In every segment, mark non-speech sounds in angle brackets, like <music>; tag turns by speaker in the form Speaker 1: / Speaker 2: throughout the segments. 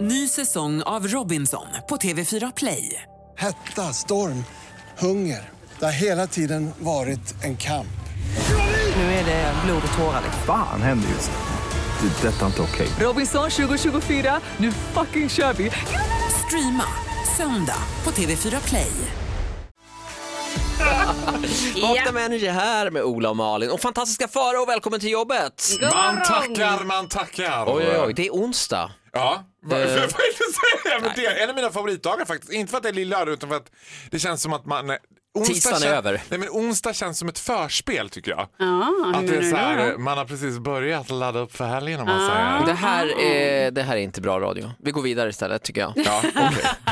Speaker 1: Ny säsong av Robinson på TV4 Play.
Speaker 2: Hetta, storm, hunger. Det har hela tiden varit en kamp.
Speaker 1: Nu är det blod och tårar.
Speaker 3: Fan händer just nu. Det. är Detta är inte okej.
Speaker 1: Robinson 2024, nu fucking kör vi! Streama söndag på TV4 Play.
Speaker 4: Vakna med Energy här med Ola och Malin. Och fantastiska Farao, välkommen till jobbet!
Speaker 5: Man tackar, man tackar.
Speaker 4: Oj, oj, Eh. oj, det är onsdag.
Speaker 5: Ja, <laughs> vad vad är det du säger? Men det är en av mina favoritdagar faktiskt. Inte för att det är lillördag utan för att det känns som att man... nej, onsdag
Speaker 4: Tisdagen är
Speaker 5: kän-
Speaker 4: över.
Speaker 5: Nej, men onsdag känns som ett förspel tycker jag.
Speaker 6: Ja,
Speaker 5: att det
Speaker 6: menar
Speaker 5: är
Speaker 6: du
Speaker 5: så
Speaker 6: då,
Speaker 5: här,
Speaker 6: då? Ah.
Speaker 5: man har precis börjat ladda upp för helgen om man säger.
Speaker 4: Det här, är, det här är inte bra radio. Vi går vidare istället tycker jag. <laughs>
Speaker 5: Ja, okej. <laughs>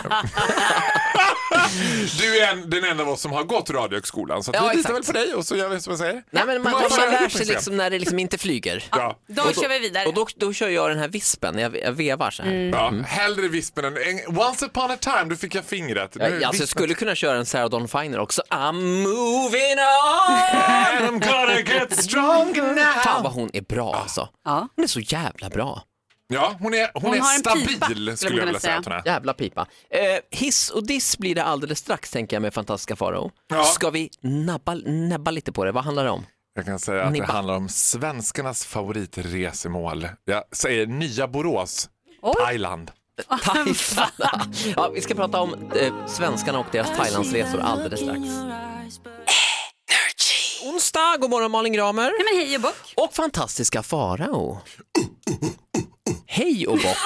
Speaker 5: du är en, den enda av oss som har gått Radiohögskolan så att
Speaker 4: Ja,
Speaker 5: vi litar
Speaker 4: exakt.
Speaker 5: väl på dig och så gör vi som jag säger.
Speaker 4: Nej, men man,
Speaker 5: Man
Speaker 4: man,
Speaker 5: får göra
Speaker 4: lär
Speaker 5: det,
Speaker 4: sig
Speaker 5: precis.
Speaker 4: liksom när det liksom inte flyger.
Speaker 5: Ja.
Speaker 6: Då kör vi vidare.
Speaker 4: Och då, då kör jag den här vispen, jag, jag vevar så här.
Speaker 5: Ja, hellre vispen än... en- Once upon a time, du fick jag fingret. Nu,
Speaker 4: Jag, alltså, jag
Speaker 5: vispen.
Speaker 4: skulle kunna köra en Sarah Dawn Finer också. I'm moving
Speaker 5: <laughs>
Speaker 4: on!
Speaker 5: And I'm gonna get stronger now.
Speaker 4: Fan vad hon är bra alltså.
Speaker 6: Ja.
Speaker 4: Hon är så jävla bra.
Speaker 5: Ja, hon är, hon
Speaker 6: Hon
Speaker 5: är
Speaker 6: har en
Speaker 5: stabil
Speaker 6: pipa, skulle man
Speaker 5: skulle jag vilja
Speaker 6: kunna
Speaker 5: säga att hon är.
Speaker 4: Jävla pipa. Eh, hiss och diss blir det alldeles strax tänker jag med fantastiska Farao.
Speaker 5: Ja.
Speaker 4: Ska vi nabba, nabba lite på det? Vad handlar det
Speaker 6: <laughs>
Speaker 4: om?
Speaker 5: Jag kan säga att
Speaker 4: Nibba.
Speaker 5: det handlar om svenskarnas favoritresemål. Jag säger nya Borås, Thailand.
Speaker 4: Thailand. ja, vi ska prata om eh, svenskarna och
Speaker 6: Ah,
Speaker 4: deras Thailandsresor alldeles strax. Onsdag, god morgon Malin Gramer
Speaker 6: Nej men hej och bock.
Speaker 4: och fantastiska Farao. Hej och bock.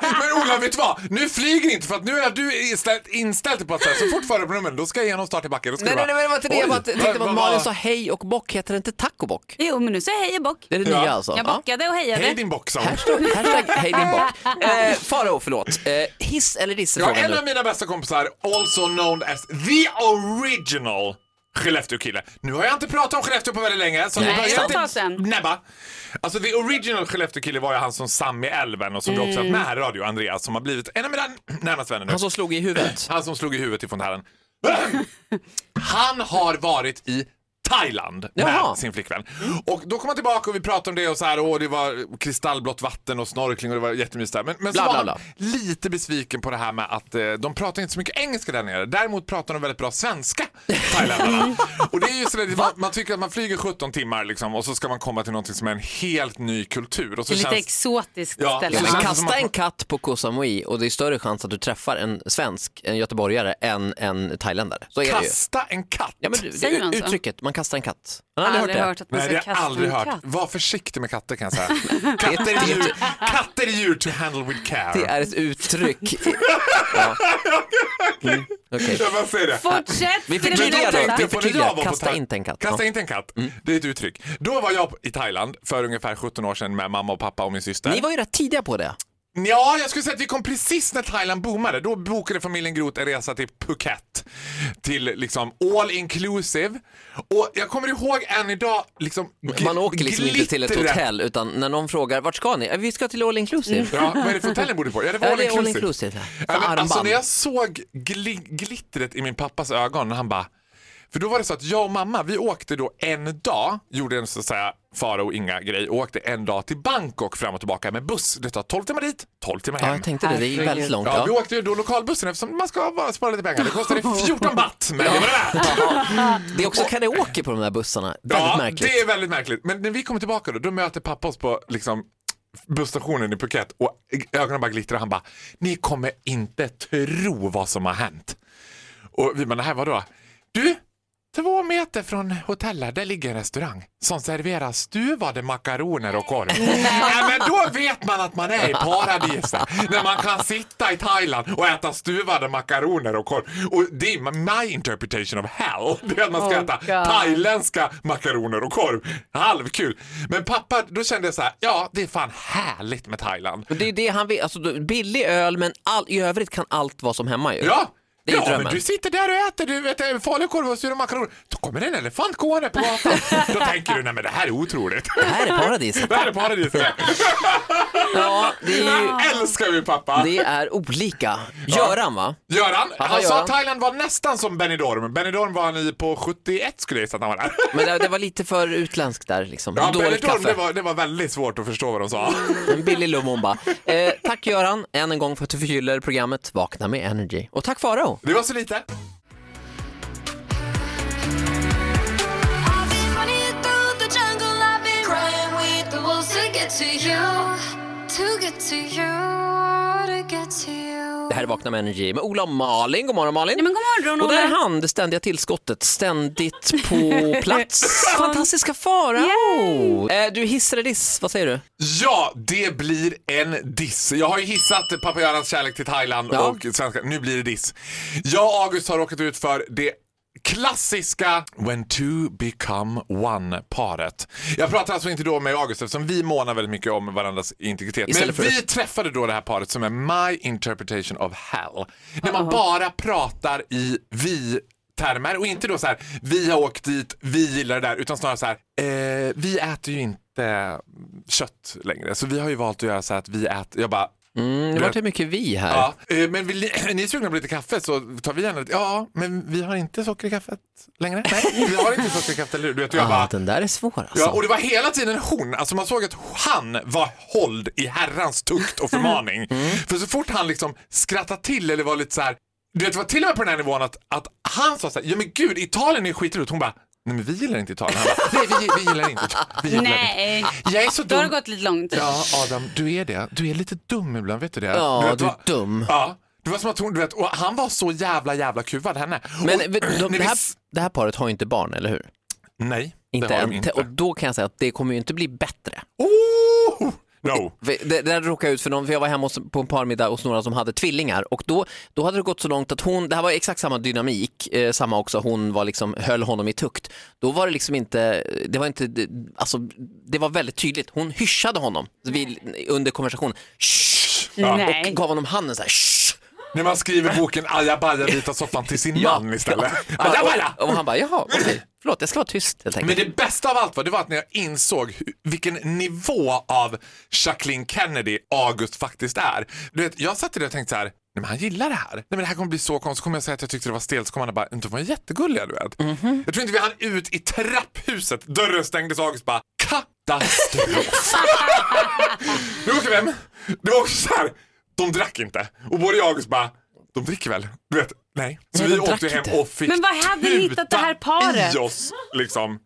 Speaker 5: Men Ola, vet du vad? Nu flyger det inte för att nu är du inställd, inställd till på att säga, så fort förarnumren, då ska jag igenom start i backen. Då ska
Speaker 4: <laughs> Nej,
Speaker 5: du
Speaker 4: nej,
Speaker 5: bara,
Speaker 4: nej, men det var inte det. Jag
Speaker 5: oj,
Speaker 4: bara tänkte på
Speaker 5: vad-
Speaker 4: att Malin
Speaker 5: vad-
Speaker 4: sa hej och bock. Heter det inte tacobock?
Speaker 6: Jo men nu säger jag hej och bock.
Speaker 4: Det är det
Speaker 5: Ja.
Speaker 4: nya alltså?
Speaker 6: Jag
Speaker 4: Ja.
Speaker 6: bockade och hejade.
Speaker 5: Hej din bock, sa hon.
Speaker 4: Hashtag, hashtag hej din
Speaker 6: <laughs>
Speaker 4: bock. Eh, Farao, förlåt. Eh, hiss eller diss är
Speaker 5: Ja,
Speaker 4: frågan
Speaker 5: en
Speaker 4: nu.
Speaker 5: av mina bästa kompisar, also known as the original Skellefteå-kille. Nu har jag inte pratat om Skellefteå på väldigt länge. Så
Speaker 6: Nej,
Speaker 5: nu
Speaker 6: det var
Speaker 5: börjar
Speaker 6: ett tag sedan.
Speaker 5: näbba. Alltså the original Skellefteå-kille var ju han som Sam i Älven och som du också har haft med här i radio, Andreas, som har blivit en av mina närmaste vänner
Speaker 4: Mm.
Speaker 5: nu.
Speaker 4: Han som slog i huvudet.
Speaker 5: <laughs> Han som slog i huvudet i fontänen. <laughs> Han har varit i Thailand med
Speaker 4: Jaha.
Speaker 5: sin flickvän. Och då kom han tillbaka och vi pratade om det och så här, åh, det var kristallblått vatten och snorkling och det var jättemysigt där. Men, men
Speaker 4: Bla,
Speaker 5: så var
Speaker 4: bla,
Speaker 5: han lite besviken på det här med att eh, de pratar inte så mycket engelska där nere. Däremot pratar de väldigt bra svenska,
Speaker 4: <laughs>
Speaker 5: thailändarna. och det är ju sådär, man, man tycker att man flyger 17 timmar liksom, och så ska man komma till någonting som är en helt ny kultur. Och så
Speaker 6: Det är lite
Speaker 5: känns-
Speaker 6: exotiskt
Speaker 5: Ja,
Speaker 6: ställe.
Speaker 4: Ja,
Speaker 5: Så
Speaker 4: men
Speaker 5: känns det som
Speaker 4: kasta
Speaker 5: att-
Speaker 4: en katt på Koh Samui och det är större chans att du träffar en svensk, en göteborgare, än en thailändare. Så är det ju.
Speaker 5: Kasta en katt!
Speaker 4: Ja, men du-
Speaker 6: Säger man
Speaker 4: det,
Speaker 6: så?
Speaker 4: uttrycket, man kastar en katt. Man
Speaker 6: Jag
Speaker 4: har
Speaker 6: har
Speaker 4: aldrig hört
Speaker 6: aldrig
Speaker 4: det.
Speaker 6: hört att man
Speaker 5: Nej, det
Speaker 6: ska
Speaker 5: har jag
Speaker 6: kasta
Speaker 5: aldrig
Speaker 6: en
Speaker 5: hört.
Speaker 6: katt.
Speaker 5: Var försiktig med katter kan jag
Speaker 4: <laughs>
Speaker 5: säga. katter, är djur, katter är djur to handle with care.
Speaker 4: Det är ett uttryck.
Speaker 6: <laughs>
Speaker 4: ja. mm. okej.
Speaker 5: <laughs> Jag bara säger det.
Speaker 6: Fortsätt!
Speaker 4: Vi
Speaker 6: till det
Speaker 4: förtydligar
Speaker 6: nya
Speaker 4: då.
Speaker 6: talet.
Speaker 4: Vi
Speaker 5: Tänkte på när
Speaker 4: förtydligar.
Speaker 5: jag var på
Speaker 4: Kasta
Speaker 5: Tha-
Speaker 4: inte en katt.
Speaker 5: Kasta
Speaker 4: Ja.
Speaker 5: inte en katt.
Speaker 4: Mm.
Speaker 5: Det är ett uttryck. Då var jag i Thailand för ungefär 17 år sedan med mamma och pappa och min syster.
Speaker 4: Ni var ju rätt tidiga på det.
Speaker 5: Ja, jag skulle säga att vi kom precis när Thailand boomade. Då bokade familjen Groth en resa till Phuket. Till liksom all inclusive. Och jag kommer ihåg än idag liksom gl-
Speaker 4: Man åker liksom inte till ett
Speaker 5: glittret.
Speaker 4: hotell utan när någon frågar vart ska ni? "Eh, Vi ska till all inclusive.
Speaker 6: Mm.
Speaker 5: Ja, vad är det för hotell ni bodde på? Ja, det var
Speaker 4: Ja,
Speaker 5: all
Speaker 4: det är all
Speaker 5: inclusive.
Speaker 4: inclusive.
Speaker 5: Ja, men,
Speaker 4: Armband.
Speaker 5: alltså när jag såg gli- glittret i min pappas ögon när han bara för då var det så att jag och mamma, vi åkte då en dag, gjorde en så att säga fara och inga grej och åkte en dag till Bangkok fram och tillbaka med buss. Det tar 12 timmar dit, 12 timmar
Speaker 4: Ja,
Speaker 5: hem.
Speaker 4: jag tänkte det. Det är ju väldigt långt.
Speaker 5: Ja, vi
Speaker 4: Ja.
Speaker 5: åkte ju då lokalbussen eftersom man ska bara spara lite pengar.
Speaker 4: <laughs>
Speaker 5: Det kostade 14 baht, men det var det värt.
Speaker 4: Det är också karaoke på de där bussarna. Väldigt
Speaker 5: Ja,
Speaker 4: märkligt.
Speaker 5: det är väldigt märkligt. Men när vi kommer tillbaka då, då möter pappa oss på liksom, busstationen i Phuket och ögonen bara glittrar. Han bara, ni kommer inte tro vad som har hänt. Och vi bara, det här var då? Du, två meter från hotellet, där ligger en restaurang som serverar stuvade makaroner och
Speaker 6: <laughs>
Speaker 5: korv. Nej, men då vet man att man är i paradiset. När man kan sitta i Thailand och äta stuvade makaroner och korv. Och det är my interpretation of hell. <laughs> Det är att man ska
Speaker 6: Oh,
Speaker 5: äta
Speaker 6: God.
Speaker 5: thailändska makaroner och korv. Halvkul. Men pappa, då kände jag så här, ja det är fan härligt med Thailand.
Speaker 4: Men det är ju det han vill. Alltså, billig öl men all, i övrigt kan allt vara som hemma ju.
Speaker 5: Ja,
Speaker 4: Det är
Speaker 5: ja,
Speaker 4: drömmen.
Speaker 5: men du sitter där och äter du vet, eh, falukorv och sura makaroner. Då kommer en elefant gående på gatan. Då tänker du, nej men det här är otroligt. <laughs>
Speaker 4: Det här är paradiset.
Speaker 5: Det här är paradiset.
Speaker 4: <laughs> Ja, det är ju...
Speaker 5: <laughs> Älskar vi pappa.
Speaker 4: Det är olika. Göran va?
Speaker 5: Göran,
Speaker 4: Haha,
Speaker 5: han sa
Speaker 4: Göran.
Speaker 5: att Thailand var nästan som Benidorm. Benidorm var han i på 71 skulle jag gissa att han var där.
Speaker 4: Men det, det var lite för utländskt där liksom.
Speaker 5: Ja,
Speaker 4: <laughs> Dåligt
Speaker 5: Benidorm, det
Speaker 4: kaffe.
Speaker 5: var, det var väldigt svårt att förstå vad
Speaker 4: <laughs>
Speaker 5: de sa.
Speaker 4: En billig lumumba. Eh, tack Göran, än en gång för att du förgyller programmet Vakna med Energy. Och tack Farao.
Speaker 5: Det var så lite.
Speaker 7: I've been running through the jungle. I've been crying with the wolves to get to you, to get to you, to get to you.
Speaker 4: Det här är Vakna med Energy med Ola och Malin. God morgon Malin.
Speaker 6: Nej, men god morgon,
Speaker 4: och där är
Speaker 6: Ola.
Speaker 4: han, det ständiga tillskottet, ständigt
Speaker 6: <laughs>
Speaker 4: på plats. Fantastiska Farao. Eh, du hissar eller diss, vad säger du?
Speaker 5: Ja, det blir en diss. Jag har ju hissat pappa Görans kärlek till Thailand
Speaker 4: Ja.
Speaker 5: och svenska. Nu blir det diss. Jag och August har råkat ut för det klassiska When two become one-paret. Jag pratar alltså inte då med August eftersom vi månar väldigt mycket om varandras integritet. Men
Speaker 4: Istället för-
Speaker 5: vi träffade då det här paret som är My Interpretation of Hell. När man bara pratar i vi termer och inte då så här vi har åkt dit, vi gillar det där utan snarare så här eh, vi äter ju inte kött längre så vi har ju valt att göra så här att vi äter, jag bara
Speaker 4: Mm, det vart det mycket vi här.
Speaker 5: Ja, eh, men vill ni, ni är sugna på lite kaffe så tar vi gärna lite. Ja, men vi har inte socker i kaffet längre. Nej, vi har inte socker i kaffet, eller hur? Du vet, jag
Speaker 4: Ah,
Speaker 5: bara,
Speaker 4: den där är svår alltså.
Speaker 5: Ja, och det var hela tiden hon. Alltså man såg att han var hålld i herrans tukt
Speaker 4: <laughs>
Speaker 5: och förmaning.
Speaker 4: Mm.
Speaker 5: För så fort han liksom skrattade till eller var lite så här. Du vet, det var till och med på den här nivån att, att han sa så här, ja men gud, Italien är skitroligt. Hon bara, nej men vi gillar inte Italien. Han bara, nej vi, vi gillar inte Italien. Vi gillar inte.
Speaker 6: Nej,
Speaker 5: Jag är så
Speaker 6: då har det
Speaker 5: dum.
Speaker 6: gått lite långt.
Speaker 5: Ja, Adam, du är det. Du är lite dum ibland, vet du det?
Speaker 4: Ja,
Speaker 5: du, vet,
Speaker 4: du är
Speaker 5: va-
Speaker 4: dum.
Speaker 5: Ja, det var som att hon, du vet, och han var så jävla jävla kuvad henne.
Speaker 4: Men
Speaker 5: och,
Speaker 4: eh,
Speaker 5: <clears throat>
Speaker 4: de,
Speaker 5: när
Speaker 4: det,
Speaker 5: vi
Speaker 4: här,
Speaker 5: s-
Speaker 4: det här paret har ju inte barn, eller hur?
Speaker 5: Nej, det
Speaker 4: Inte
Speaker 5: har
Speaker 4: än.
Speaker 5: de inte.
Speaker 4: Och då kan jag säga att det kommer ju inte bli bättre.
Speaker 5: Oh! No.
Speaker 4: För Det, det där råkade jag ut för någon, för jag var hemma hos, på en parmiddag hos några som hade tvillingar och då, då hade det gått så långt att hon, det här var exakt samma dynamik, eh, samma också, hon var liksom, höll honom i tukt. Då var det liksom inte, det var inte, det- alltså det var väldigt tydligt, hon hyschade honom vid, under konversationen. Shh!
Speaker 6: Nej.
Speaker 4: Och gav honom handen så här. Shh!
Speaker 5: När man skriver boken Ajabaja vita soffan till sin
Speaker 4: Ja.
Speaker 5: man istället. Ajabaja!
Speaker 4: Och, och han bara, jaha, okej, förlåt, jag ska vara tyst helt
Speaker 5: Men
Speaker 4: enkelt.
Speaker 5: det bästa av allt var, det var att när jag insåg hu- vilken nivå av Jacqueline Kennedy August faktiskt är. Du vet, jag satt där och tänkte så här, nej men han gillar det här. Nej men det här kommer bli så konstigt. Så kommer jag säga att jag tyckte det var stelt så kommer han bara, de var jättegulliga du vet.
Speaker 4: Mhm.
Speaker 5: Jag tror inte vi hann ut i trapphuset, dörren stängdes och August bara,
Speaker 4: <laughs>
Speaker 5: katastrof. nu åker vi hem. Det var också så här, de drack inte. Och både jag och August bara, de dricker väl? Du vet, nej. Så
Speaker 4: Nej,
Speaker 5: vi
Speaker 4: de drack
Speaker 5: åkte hem
Speaker 4: inte.
Speaker 5: och fick
Speaker 6: Men var hade ni hittat det här
Speaker 5: tuta
Speaker 6: paret?
Speaker 5: i oss. Liksom.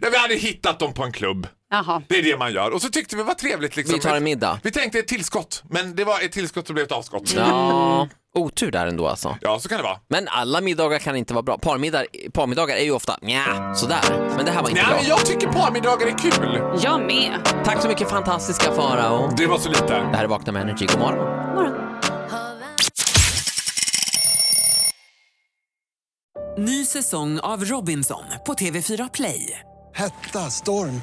Speaker 5: Ja, vi hade hittat dem på en klubb.
Speaker 6: Jaha.
Speaker 5: Det är det man gör. Och så tyckte vi det var trevligt. Liksom.
Speaker 4: Vi tar en middag.
Speaker 5: Vi tänkte ett tillskott, men det var ett tillskott som blev ett avskott. Ja.
Speaker 4: Ja, otur där ändå alltså.
Speaker 5: så kan det vara.
Speaker 4: Men alla middagar kan inte vara bra. Parmiddagar, parmiddagar är ju ofta nja, sådär. Men det här var inte
Speaker 5: Nej,
Speaker 4: bra.
Speaker 5: men jag tycker parmiddagar är kul.
Speaker 6: Jag med.
Speaker 4: Tack så mycket fantastiska Farao.
Speaker 5: Det var så lite.
Speaker 4: Det här är Vakna med Energy, god morgon.
Speaker 1: Ny säsong av Robinson på TV4 Play.
Speaker 2: Hetta, storm,